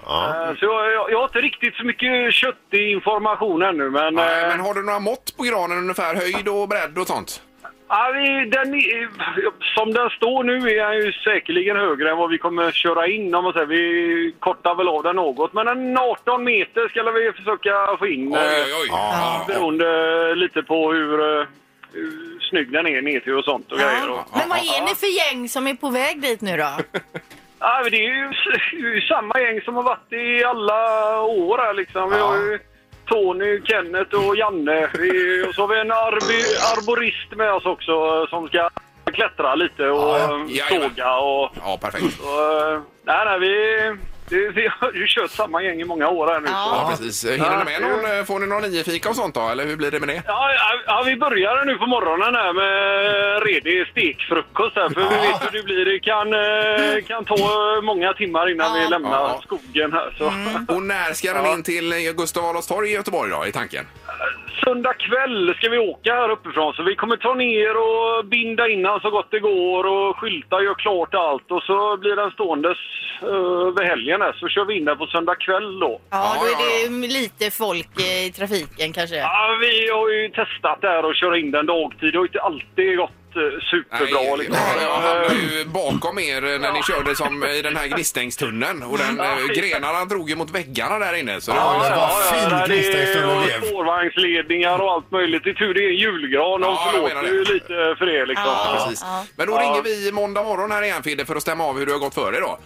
Speaker 3: Ja.
Speaker 6: eh, så jag, jag, jag har inte riktigt så mycket kött i information ännu. Men,
Speaker 1: Nej,
Speaker 6: eh,
Speaker 1: men har du några mått på granen ungefär? Höjd och bredd och sånt?
Speaker 6: Ja, vi, den, är- som den står nu är den ju säkerligen högre än vad vi kommer köra in. Om man säger. Vi kortar väl av den något, men en 18 meter ska vi försöka få in.
Speaker 1: Oj,
Speaker 6: eh,
Speaker 1: oj, oj. Ja.
Speaker 6: Beroende lite på hur, eh, hur snygg den är ner till och sånt och grejer.
Speaker 3: Ja.
Speaker 6: Och,
Speaker 3: Men vad är ni för gäng som är på väg dit nu då?
Speaker 6: ja, men det är ju s- ju samma gäng som har varit i alla år här liksom. Vi
Speaker 1: Ja.
Speaker 6: har ju Tony, Kenneth och Janne. Vi, och så har vi en arbi, arborist med oss också eh, som ska klättra lite och
Speaker 2: Ja,
Speaker 1: ja.
Speaker 6: eh, såga och...
Speaker 1: Ja, perfekt.
Speaker 6: och eh, nej, nej, vi... Vi, vi har ju kört samma gäng i många år här nu.
Speaker 3: Ja.
Speaker 6: så-
Speaker 1: Ja, precis. Hinner ni med någon, eh, får ni någon IE-fika och sånt då, eller hur blir det med det?
Speaker 6: Ja, ja, ja, vi börjar nu på morgonen här med eh, redig stekfrukost här, för vi
Speaker 1: Ja.
Speaker 6: vet hur det blir. Det kan, eh, kan ta många timmar innan
Speaker 3: Ja.
Speaker 6: vi lämnar
Speaker 1: Ja. Mm.
Speaker 6: skogen här. Så.
Speaker 1: Och när ska den
Speaker 6: Ja.
Speaker 1: in till eh, Gustav Adolfs torg i Göteborg då, i tanken?
Speaker 6: Söndag kväll ska vi åka här uppifrån, så vi kommer ta ner och binda in han så gott det går och skylta, gör klart allt och så blir den ståendes eh, över helgen här, så kör vi in den på söndag kväll då.
Speaker 3: Ja,
Speaker 1: Ja,
Speaker 3: då
Speaker 1: ja,
Speaker 3: är det lite folk eh, i trafiken kanske.
Speaker 6: Ja, vi har ju testat det här och köra in den dagtid. Det har ju inte alltid gått eh, superbra. liksom.
Speaker 1: ja, jag
Speaker 6: Eh,
Speaker 1: hamnade ju bakom er eh, när ni körde som i den här Gnistängstunneln och den eh, grenarna drog ju mot väggarna där inne. Så det var ju
Speaker 2: Ja,
Speaker 1: så...
Speaker 2: vad fint
Speaker 6: där
Speaker 2: Liechtenstein och
Speaker 6: det
Speaker 2: Lev.
Speaker 6: är spårvagnsledningar och allt möjligt. Det är tur det är en julgran. De
Speaker 1: Ja, jag menar
Speaker 6: förlåter
Speaker 1: det.
Speaker 6: ju lite för det liksom.
Speaker 1: Ja,
Speaker 6: Ja.
Speaker 1: precis. Men då ringer vi måndag morgon här igen Fidde för att stämma av hur du har gått för dig då.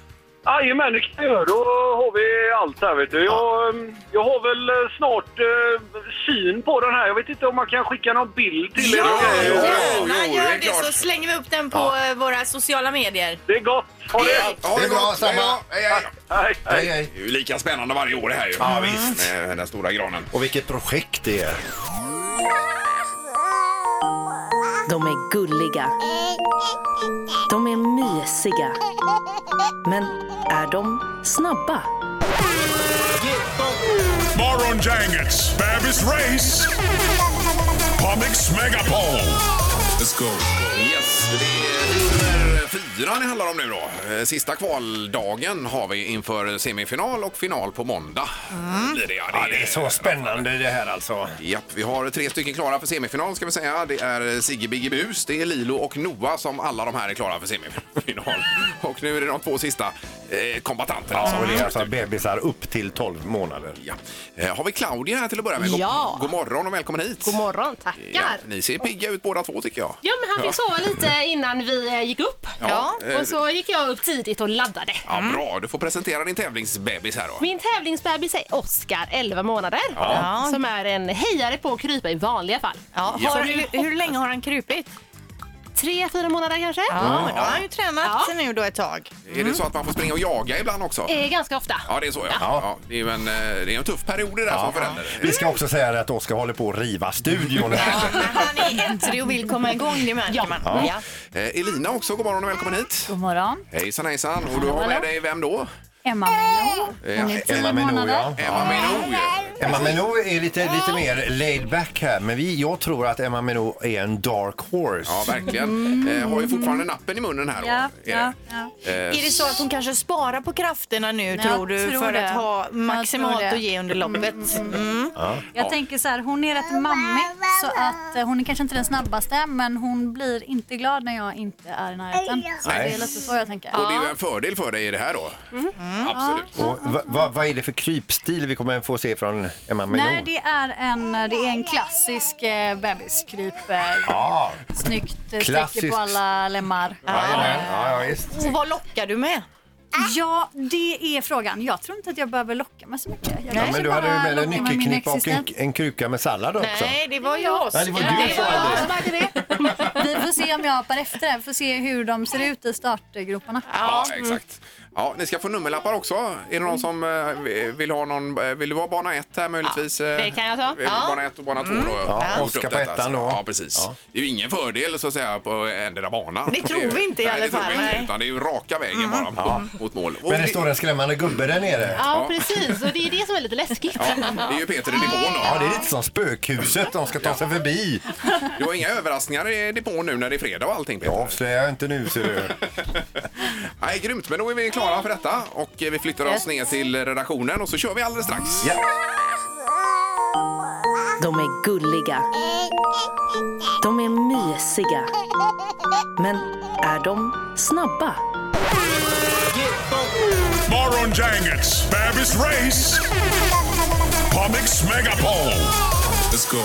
Speaker 6: Jajamän, det kan jag göra. Då har vi allt här vet du. Jag, ehm, jag har väl eh, snart eh, syn på den här. Jag vet inte om man kan skicka någon bild till
Speaker 3: Ja,
Speaker 6: er.
Speaker 1: jo, jo,
Speaker 3: gärna
Speaker 1: jo, det är
Speaker 3: gör det
Speaker 1: klart.
Speaker 3: så slänger vi upp den på eh, våra sociala medier.
Speaker 6: Det är gott. Ha det!
Speaker 1: Ja,
Speaker 2: Det är bra,
Speaker 1: gott.
Speaker 2: samma.
Speaker 1: Ja, ja, ja.
Speaker 6: Hej, hej.
Speaker 2: Hej, hej.
Speaker 1: Det är ju lika spännande varje år det här ju. Ja, visst. Med den stora granen.
Speaker 2: Och vilket projekt det är.
Speaker 4: De är gulliga. De är mysiga. Men är de snabba?
Speaker 9: Morgongänget, Babys Race, Comics Megapol. Let's go.
Speaker 1: Yes, det är nummer fyra det handlar om nu då. Eh, Sista kvaldagen har vi inför semifinal och final på måndag. Blir det, ja, det,
Speaker 2: Ja, det är så spännande det här alltså.
Speaker 1: Japp, vi har tre stycken klara för semifinal ska vi säga. Det är Sigge Bigge Bus, det är Lilo och Noah som alla de här är klara för semifinal. och nu är det de två sista eh, kombatanterna. som
Speaker 2: Och det är
Speaker 1: är
Speaker 2: alltså bebisar upp till 12 månader.
Speaker 1: Ja. Eh, Har vi Claudia här till att börja med? God-
Speaker 10: Ja.
Speaker 1: God morgon och välkommen hit.
Speaker 10: God morgon,
Speaker 1: Ja,
Speaker 10: tackar.
Speaker 1: ni ser pigga ut båda två tycker jag.
Speaker 10: Ja, men han fick sova lite innan vi eh, gick upp.
Speaker 1: Ja.
Speaker 10: Och så gick jag upp tidigt och laddade.
Speaker 1: Ja, bra. Du får presentera din tävlingsbebis här då.
Speaker 10: Min tävlingsbebis är Oscar, 11 månader, som är en hejare på att krypa i vanliga fall.
Speaker 3: Ja,
Speaker 1: Ja.
Speaker 3: har, hur, hur länge har han krupit?
Speaker 10: Tre, fyra månader kanske?
Speaker 3: Ja, men då har han ju tränat
Speaker 10: Ja.
Speaker 3: nu då ett tag.
Speaker 10: Mm.
Speaker 1: Är det så att man får springa och jaga ibland också?
Speaker 10: Eh, ganska ofta.
Speaker 1: Ja, det är så ja. ja det, är ju en, eh, det är en tuff period det där som förälder.
Speaker 2: Vi ska också säga det att Oskar håller på att riva studion. här.
Speaker 3: Men han är ettrig och vill komma igång, det märker man. Ja.
Speaker 1: Eh, Elina också, god morgon och välkommen hit.
Speaker 10: God morgon.
Speaker 1: Hejsan hejsan. Och du har med
Speaker 10: Hallå.
Speaker 1: dig vem då?
Speaker 10: Emma Mello.
Speaker 1: Eh,
Speaker 2: Emma Meno, ja.
Speaker 1: Emma Minogue.
Speaker 2: Emma Meno är lite, lite mer laid back här, men vi, jag tror att Emma Meno är en dark horse.
Speaker 1: Ja, verkligen. Eh, har ju fortfarande nappen i munnen här då.
Speaker 10: Ja,
Speaker 1: Är det? Eh,
Speaker 3: Är det så att hon kanske sparar på krafterna nu,
Speaker 10: Jag
Speaker 3: tror du,
Speaker 10: tror
Speaker 3: för
Speaker 10: det.
Speaker 3: att ha
Speaker 10: Jag tror
Speaker 3: maximalt
Speaker 10: det.
Speaker 3: att ge under loppet? Mm.
Speaker 10: Jag tänker så här, hon är rätt mammig så att eh, hon är kanske inte den snabbaste men hon blir inte glad när jag inte är i närheten. Så det
Speaker 2: Nej.
Speaker 10: är lite så jag tänker.
Speaker 1: Och det är ju en fördel för dig i det här då. Absolut.
Speaker 2: Och va, va, vad är det för krypstil vi kommer få se från Emma Meno?
Speaker 10: Nej, det är en, det är en klassisk eh, bebiskryp. Eh,
Speaker 2: Ja,
Speaker 10: Snyggt eh, sträcker
Speaker 2: Klassisk.
Speaker 10: på alla lemmar.
Speaker 2: jajamän. ja, ja, visst.
Speaker 3: Och vad lockar du med?
Speaker 10: Ja, det är frågan. Jag tror inte att jag behöver locka mig så mycket. Jag
Speaker 2: Ja,
Speaker 10: kanske
Speaker 2: men du hade ju
Speaker 10: bara
Speaker 2: med dig
Speaker 10: lockar min
Speaker 2: nyckelknippa och en,
Speaker 10: existens.
Speaker 2: en kruka med sallad också.
Speaker 3: Nej, det var jag.
Speaker 2: Nej, det var du
Speaker 10: Det
Speaker 2: som
Speaker 10: var jag
Speaker 2: hade.
Speaker 10: som hade det. Vi får se om jag hoppar efter. Vi får se hur de ser ut i startgroparna.
Speaker 1: Ja, exakt. Ja, ni ska få nummerlappar också. Är det någon som eh, vill ha någon, eh, vill du vara bana 1 här möjligtvis? Ja,
Speaker 10: det kan jag ta.
Speaker 1: Bana 1 och bana 2 då.
Speaker 2: Ja,
Speaker 1: Gjort
Speaker 2: Oskar
Speaker 1: upp
Speaker 2: på
Speaker 1: detta,
Speaker 2: ettan då.
Speaker 1: alltså. Ja, precis. Det är ju ingen fördel så att säga på endera banan.
Speaker 3: Det tror vi inte i
Speaker 1: Nej,
Speaker 3: alla
Speaker 1: det tror vi
Speaker 3: fall,
Speaker 1: inte,
Speaker 3: nej.
Speaker 1: Utan det är ju raka vägen bara mot mål. Och
Speaker 2: Men det
Speaker 1: det-
Speaker 2: står en skrämmande gubbe där nere.
Speaker 10: Ja, precis. Och det är det som är lite läskigt.
Speaker 1: Ja, det är ju Peter i depån
Speaker 2: Ja,
Speaker 1: då.
Speaker 2: det är lite som spökhuset. De ska ta sig förbi.
Speaker 1: Du har inga överraskningar i depån nu när det är fredag och allting Peter?
Speaker 2: Jag avslöjar inte nu, ser du.
Speaker 1: Nej, grymt, men då är vi klara för detta och eh, vi flyttar oss ner till redaktionen och så kör vi alldeles strax.
Speaker 2: Ja.
Speaker 4: De är gulliga. De är mysiga. Men är de snabba?
Speaker 9: Morgongänget, Babys Race, Comics Megapol. Let's go.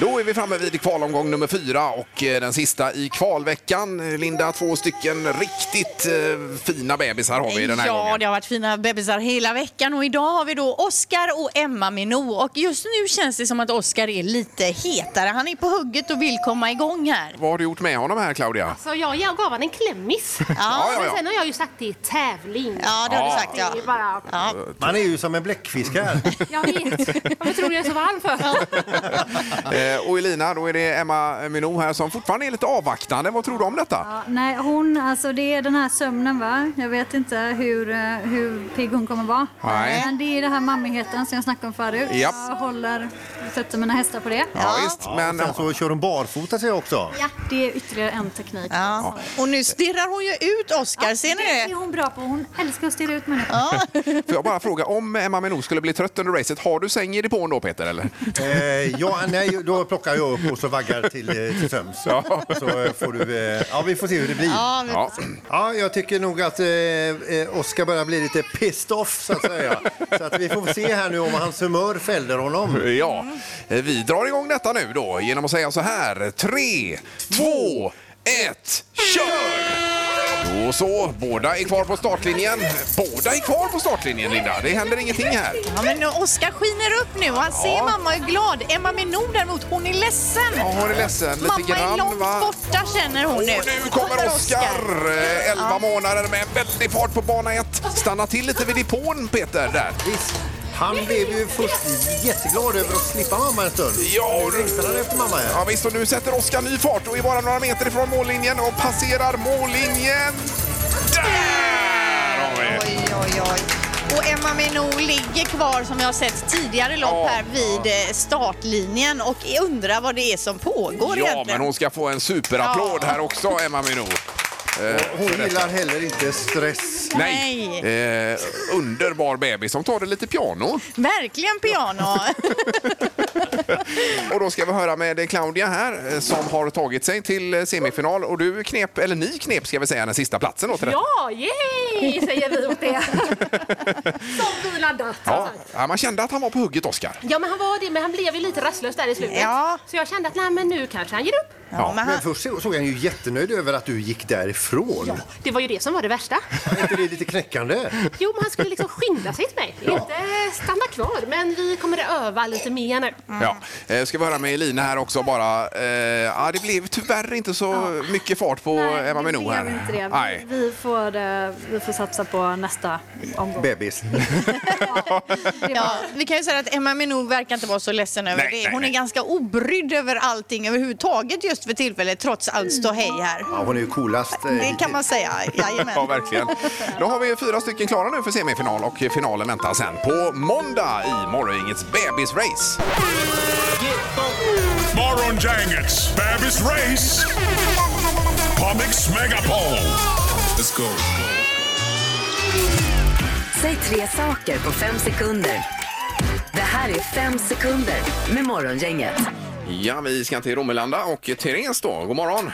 Speaker 1: Då är vi framme vid kvalomgång nummer fyra och eh, den sista i kvalveckan. Linda, två stycken riktigt eh, fina bebisar har vi den här
Speaker 3: ja,
Speaker 1: gången.
Speaker 3: det har varit fina bebisar hela veckan och idag har vi då Oskar och Emma Minou och just nu känns det som att Oskar är lite hetare. Han är på hugget och vill komma igång här.
Speaker 1: Vad har du gjort med honom här Claudia?
Speaker 11: Så jag, jag gav honom en klämmis.
Speaker 1: Ja, ja, ja.
Speaker 11: Men sen har jag ju sagt det är tävling.
Speaker 3: Ja,
Speaker 1: det har du Ja. sagt,
Speaker 3: ja.
Speaker 11: Det är bara,
Speaker 2: Man är ju som en bläckfisk här.
Speaker 11: jag vet. Varför tror du jag är så varm för?
Speaker 1: Eh, och Elina, då är det Emma Minou här som fortfarande är lite avvaktande. Vad tror du om detta?
Speaker 10: Ja, nej, hon, alltså det är den här sömnen va? Jag vet inte hur, eh, hur pigg hon kommer vara.
Speaker 1: Nej.
Speaker 10: Men det är den här mammigheten som jag snackade om förut.
Speaker 2: Japp.
Speaker 10: Jag håller, sätter mina hästar på det.
Speaker 2: Ja, men...
Speaker 1: eh,
Speaker 2: Sen så kör hon barfota sig också.
Speaker 10: Ja, det är ytterligare en teknik.
Speaker 3: Ja. Och nu stirrar hon ju ut Oskar, ser ni
Speaker 10: det? är hon bra på. Hon älskar att stirra ut människor.
Speaker 1: Får jag bara fråga, om Emma Minou skulle bli trött under racet, har du säng i depån då Peter? Eller?
Speaker 2: Eh, ja, nej, då plockar jag upp och så vaggar till, eh, till söms.
Speaker 1: Ja.
Speaker 2: Så eh, får du, eh, ja, vi får se hur det blir.
Speaker 1: Ja, vi får Ja. se.
Speaker 2: Ja, jag tycker nog att eh, eh, Oskar börjar bli lite pissed off så att säga. Så att vi får se här nu om hans humör fäller honom.
Speaker 1: Ja, eh, vi drar igång detta nu då genom att säga så här. Tre, två, ett, kör! Då så, båda är kvar på startlinjen. Båda är kvar på startlinjen, Linda. Det händer ingenting här.
Speaker 3: Ja, men Oskar skiner upp nu. Han ser mamma är glad. Emma Minou däremot, hon är ledsen.
Speaker 1: Ja, hon är ledsen lite
Speaker 3: mamma är
Speaker 1: grann,
Speaker 3: långt
Speaker 1: va?
Speaker 3: borta känner hon
Speaker 1: Och
Speaker 3: nu.
Speaker 1: nu kommer Oskar! eh, 11 månader med väldig fart på bana 1. Stanna till lite vid depån, Peter. Där.
Speaker 2: Han blev ju först jätteglad över att slippa mamma en stund.
Speaker 1: Ja,
Speaker 2: Nu längtar han efter mamma här.
Speaker 1: Ja, visst, och nu sätter Oskar ny fart och är bara några meter ifrån mållinjen och passerar mållinjen. Där har vi!
Speaker 3: Oj, oj, oj. Och Emma Minou ligger kvar som jag har sett tidigare lopp här vid eh, startlinjen och undrar vad det är som pågår
Speaker 1: Ja,
Speaker 3: egentligen.
Speaker 1: men hon ska få en superapplåd
Speaker 3: Ja.
Speaker 1: här också, Emma Minou. Eh,
Speaker 2: Hon
Speaker 1: för detta.
Speaker 2: gillar heller inte stress.
Speaker 1: Nej! Eh, underbar bebis som tar det lite piano.
Speaker 3: Verkligen piano.
Speaker 1: Och då ska vi höra med Claudia här eh, som har tagit sig till eh, semifinal och du knep, eller ni knep ska vi säga, den sista platsen då till detta.
Speaker 11: Ja, yay! Säger vi åt det. Som vi laddat.
Speaker 1: Ja. ja, man kände att han var på hugget, Oskar.
Speaker 11: Ja, men han var det, men han blev ju lite rastlös där i slutet.
Speaker 3: Ja.
Speaker 11: Så jag kände att nej, men nu kanske han ger upp.
Speaker 1: Ja,
Speaker 2: men först så- såg han ju jättenöjd över att du gick därifrån.
Speaker 11: Det var ju det som var det värsta.
Speaker 2: Är inte det lite knäckande?
Speaker 11: Jo, men han skulle liksom skynda sig till mig. Inte stanna kvar, men vi kommer att öva lite mer nu.
Speaker 10: Mm.
Speaker 1: Ja. Eh, ska vi höra med Elina här också bara. Eh, ja, det blev tyvärr inte så mycket fart på Emma Minou
Speaker 10: Det blev
Speaker 1: här.
Speaker 10: inte det.
Speaker 1: Nej.
Speaker 10: Vi, vi, får, eh, vi får satsa på nästa omgång.
Speaker 2: Bebis.
Speaker 3: ja, vi kan ju säga att Emma Minou verkar inte vara så ledsen över
Speaker 2: Nej,
Speaker 3: det.
Speaker 2: nej,
Speaker 3: Hon
Speaker 2: nej.
Speaker 3: är ganska obrydd över allting överhuvudtaget just för tillfället trots allt ståhej här.
Speaker 2: Ja, hon är ju coolast. eh,
Speaker 3: Det kan man säga, jajamän.
Speaker 1: Ja, verkligen. Då har vi fyra stycken klara nu för semifinal och finalen väntar sen på måndag i Morgongängets bebisrace.
Speaker 9: Morgongänget Babys Race. Comics Megapol. Let's go.
Speaker 4: Säg tre saker på fem sekunder. Det här är fem sekunder med Morgongänget.
Speaker 1: Ja, vi ska till Romelanda och Therese då. God morgon!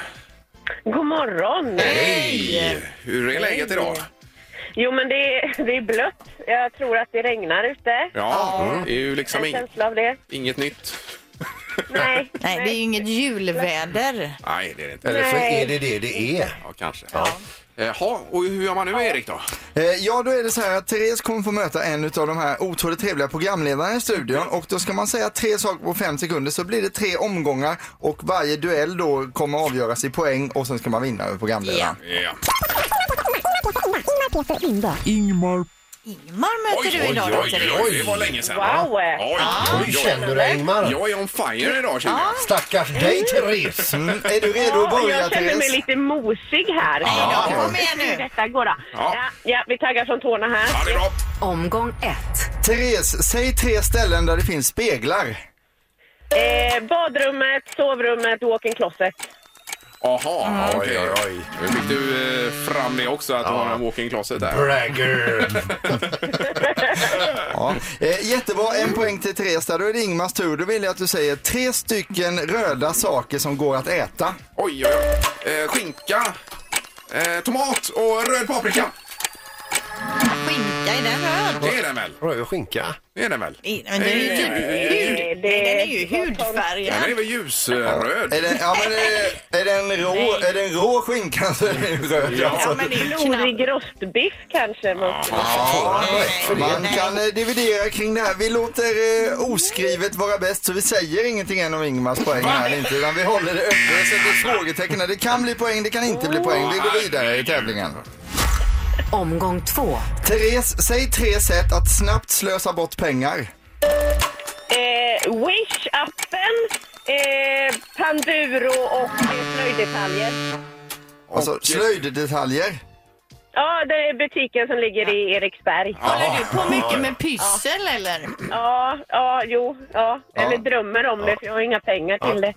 Speaker 12: God morgon!
Speaker 1: Hej! Hur är läget idag?
Speaker 12: Jo, men det är, det är blött. Jag tror att det regnar ute.
Speaker 1: Ja, det är ju liksom
Speaker 12: En
Speaker 1: ing,
Speaker 12: känsla av det.
Speaker 1: inget nytt.
Speaker 12: Nej.
Speaker 3: Nej, det är ju inget julväder.
Speaker 1: Nej, det är det inte.
Speaker 3: Eller så är det
Speaker 1: det det är. Ja, kanske. Ja. Jaha, och hur gör man nu Erik då?
Speaker 13: Eh, Ja, då är det så här att Therese kommer få möta en av de här otroligt trevliga programledarna i studion och då ska man säga tre saker på fem sekunder så blir det tre omgångar och varje duell då kommer avgöras i poäng och sen ska man vinna över programledaren.
Speaker 1: Ja.
Speaker 13: Ingmar.
Speaker 3: Ingmar möter du idag
Speaker 1: oj,
Speaker 3: då,
Speaker 1: oj,
Speaker 3: Therese.
Speaker 1: oj, det var länge sedan.
Speaker 3: Wow.
Speaker 1: Oj, oj, oj.
Speaker 2: Känner du dig Ingmar?
Speaker 1: Jag är on fire idag känner jag.
Speaker 2: Stackars dig Therese. Mm.
Speaker 13: Är du redo att
Speaker 12: Ja,
Speaker 13: börja
Speaker 12: jag känner mig
Speaker 13: Therese?
Speaker 12: lite mosig här.
Speaker 13: Ja,
Speaker 12: Ja,
Speaker 13: kom
Speaker 12: igen nu. Detta går då. Ja. ja, vi taggar från tårna här. Ja,
Speaker 1: det är bra.
Speaker 4: Omgång ett.
Speaker 13: Therese, säg tre ställen där det finns speglar.
Speaker 12: Eh, badrummet, sovrummet, walk-in closet.
Speaker 1: Jaha, okej. Nu fick du eh, fram det också, att du har en walking closet där.
Speaker 2: Bragger!
Speaker 13: Ja. Eh, jättebra, en poäng till Therese där. Då är det Ingmars tur. Då vill jag att du säger tre stycken röda saker som går att äta.
Speaker 1: Oj, oj, oj. Eh, skinka, eh, tomat och röd paprika.
Speaker 10: Skinka,
Speaker 3: skinka? Är den röd?
Speaker 1: Det är den väl?
Speaker 2: Röd skinka?
Speaker 1: Det är den väl?
Speaker 3: I- Men den är ju typ hud. Nej, den är ju hudfärgad.
Speaker 1: Den är väl ljusröd?
Speaker 13: Är den, ja, men är, är den rå, är den rå skinkan så är den ju röd.
Speaker 1: Ja,
Speaker 13: alltså.
Speaker 3: Men det är Knorig rostbiff kanske. måste man säga.
Speaker 13: Man kan eh, dividera kring det här. Vi låter eh, oskrivet vara bäst så vi säger ingenting än om Ingmars poäng här eller inte. Utan vi håller det öppet och sätter frågetecken. där. Det kan bli poäng, det kan inte bli poäng. Vi går vidare i tävlingen.
Speaker 4: Omgång två.
Speaker 13: Therese, säg tre sätt att snabbt slösa bort pengar.
Speaker 8: Eh, Wish-appen, eh, Panduro och eh, slöjddetaljer.
Speaker 13: Alltså slöjddetaljer.
Speaker 8: Ja, det är butiken som ligger i Eriksberg.
Speaker 13: Håller du på mycket med
Speaker 8: pyssel eller?
Speaker 3: Oh
Speaker 8: Ja, ja, jo, ja. Eller drömmer om det för jag har inga pengar till det.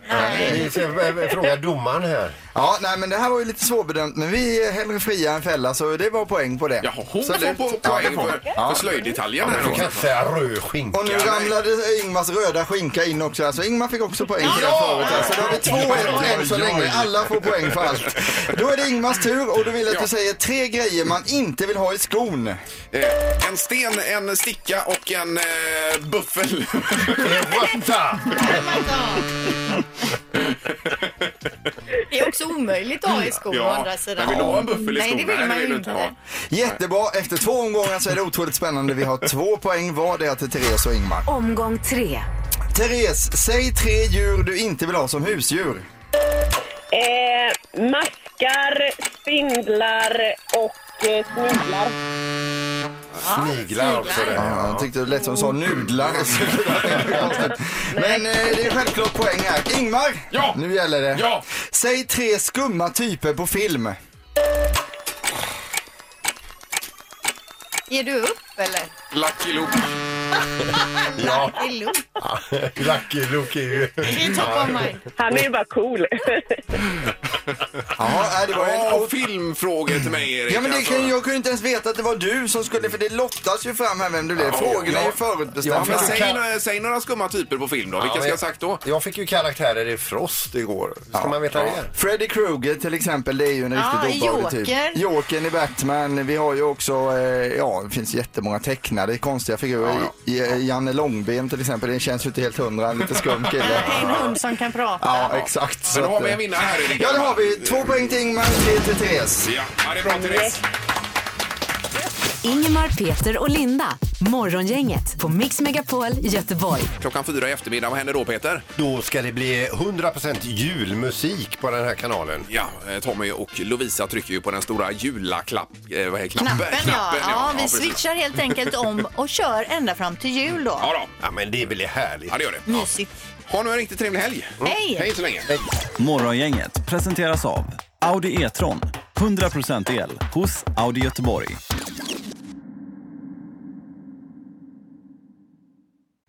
Speaker 2: Vi ska, eh, Fråga domaren här.
Speaker 13: Ja, nej men det här var ju lite svårbedömt men vi är hellre fria än fälla så det var poäng på det.
Speaker 1: Jaha, hon får
Speaker 13: Absolut.
Speaker 1: po-
Speaker 13: Ja,
Speaker 1: poäng
Speaker 13: det får
Speaker 1: för-
Speaker 13: hon.
Speaker 1: för slöjddetaljen här
Speaker 2: Du kan
Speaker 1: då.
Speaker 2: inte säga röd skinka.
Speaker 13: Och nu ramlade Ingmars röda skinka in också. Alltså Ingmar fick också poäng för
Speaker 2: Ja!
Speaker 13: det förut. Alltså, då har vi två rätt än så länge. Alla får poäng för allt. Då är det Ingmars tur och du vill att du säger tre grejer man inte vill ha i skon.
Speaker 1: Eh, En sten, en sticka och en eh, buffel.
Speaker 2: Vänta!
Speaker 3: Det är också omöjligt att ha i skor å andra sidan.
Speaker 1: men vill du ha en buffel i
Speaker 3: Nej,
Speaker 1: skon?
Speaker 3: det vill man ju inte.
Speaker 1: ha.
Speaker 13: Jättebra. Efter två omgångar så är det otroligt spännande. Vi har två poäng vardera till Therese och Ingmar.
Speaker 4: Omgång tre.
Speaker 13: Therese, säg tre djur du inte vill ha som husdjur.
Speaker 8: Eh, maskar, spindlar och eh, sniglar.
Speaker 2: Sniglar också.
Speaker 13: Ja, jag tyckte det lät som du sa nudlar. Men eh, det är självklart poäng här. Ingmar, ja. nu gäller det.
Speaker 1: Ja.
Speaker 13: Säg tre skumma typer på film.
Speaker 3: Ger du upp eller?
Speaker 1: Lucky Luke.
Speaker 2: Ja.
Speaker 3: Det är lugnt.
Speaker 2: Lucky Luke är ju...
Speaker 8: Han är ju bara cool.
Speaker 13: Ja, det var en
Speaker 1: Ja, filmfrågor till mig, Erik.
Speaker 13: Ja, men det
Speaker 1: alltså.
Speaker 13: kan, jag kunde inte ens veta att det var du som skulle, för det lottas ju fram här vem det blev. Frågorna är ju
Speaker 1: Ja,
Speaker 13: förutbestämda.
Speaker 1: men säg, några- säg några skumma typer på film då. Vilka
Speaker 2: Ja,
Speaker 1: ska
Speaker 2: men-
Speaker 1: jag sagt då?
Speaker 2: Jag fick ju karaktärer i Frost igår. Ska man veta det?
Speaker 13: Freddy Krueger till exempel, det är ju en
Speaker 3: Ja,
Speaker 13: riktigt obehaglig
Speaker 3: Joker.
Speaker 13: typ. Jokern i Batman. Vi har ju också, eh, ja det finns jättemånga tecknade konstiga figurer. I- eh, Janne Långben till exempel, det känns ju inte helt hundra, en lite skum kille.
Speaker 3: En hund som kan prata.
Speaker 13: Ja, exakt. Så
Speaker 1: Men då har
Speaker 13: att,
Speaker 1: vi
Speaker 13: eh,
Speaker 1: en vinnare här, Erik.
Speaker 13: Ja, det har vi. Två poäng till Ingmar, tre till Therese.
Speaker 1: Ja, ja, det är bra, Therese.
Speaker 4: Ingemar, Peter och Linda. Morgongänget på Mix Megapol Göteborg.
Speaker 1: Klockan fyra i eftermiddag, vad händer då Peter?
Speaker 2: Då ska det bli 100% julmusik på den här kanalen.
Speaker 1: Ja, eh, Tommy och Lovisa trycker ju på den stora julaklapp... Eh, vad heter knappen?
Speaker 3: Knappen, ja. ja, vi
Speaker 1: precis.
Speaker 3: switchar helt enkelt om och kör ända fram till jul då.
Speaker 1: Ja, då.
Speaker 2: Ja, men det blir härligt.
Speaker 1: ja, det gör det.
Speaker 3: Mysigt.
Speaker 1: Ha nu en riktigt trevlig helg.
Speaker 3: Hej!
Speaker 1: Hej så länge.
Speaker 13: eh,
Speaker 14: Morgongänget presenteras av Audi E-tron. 100% el hos Audi Göteborg.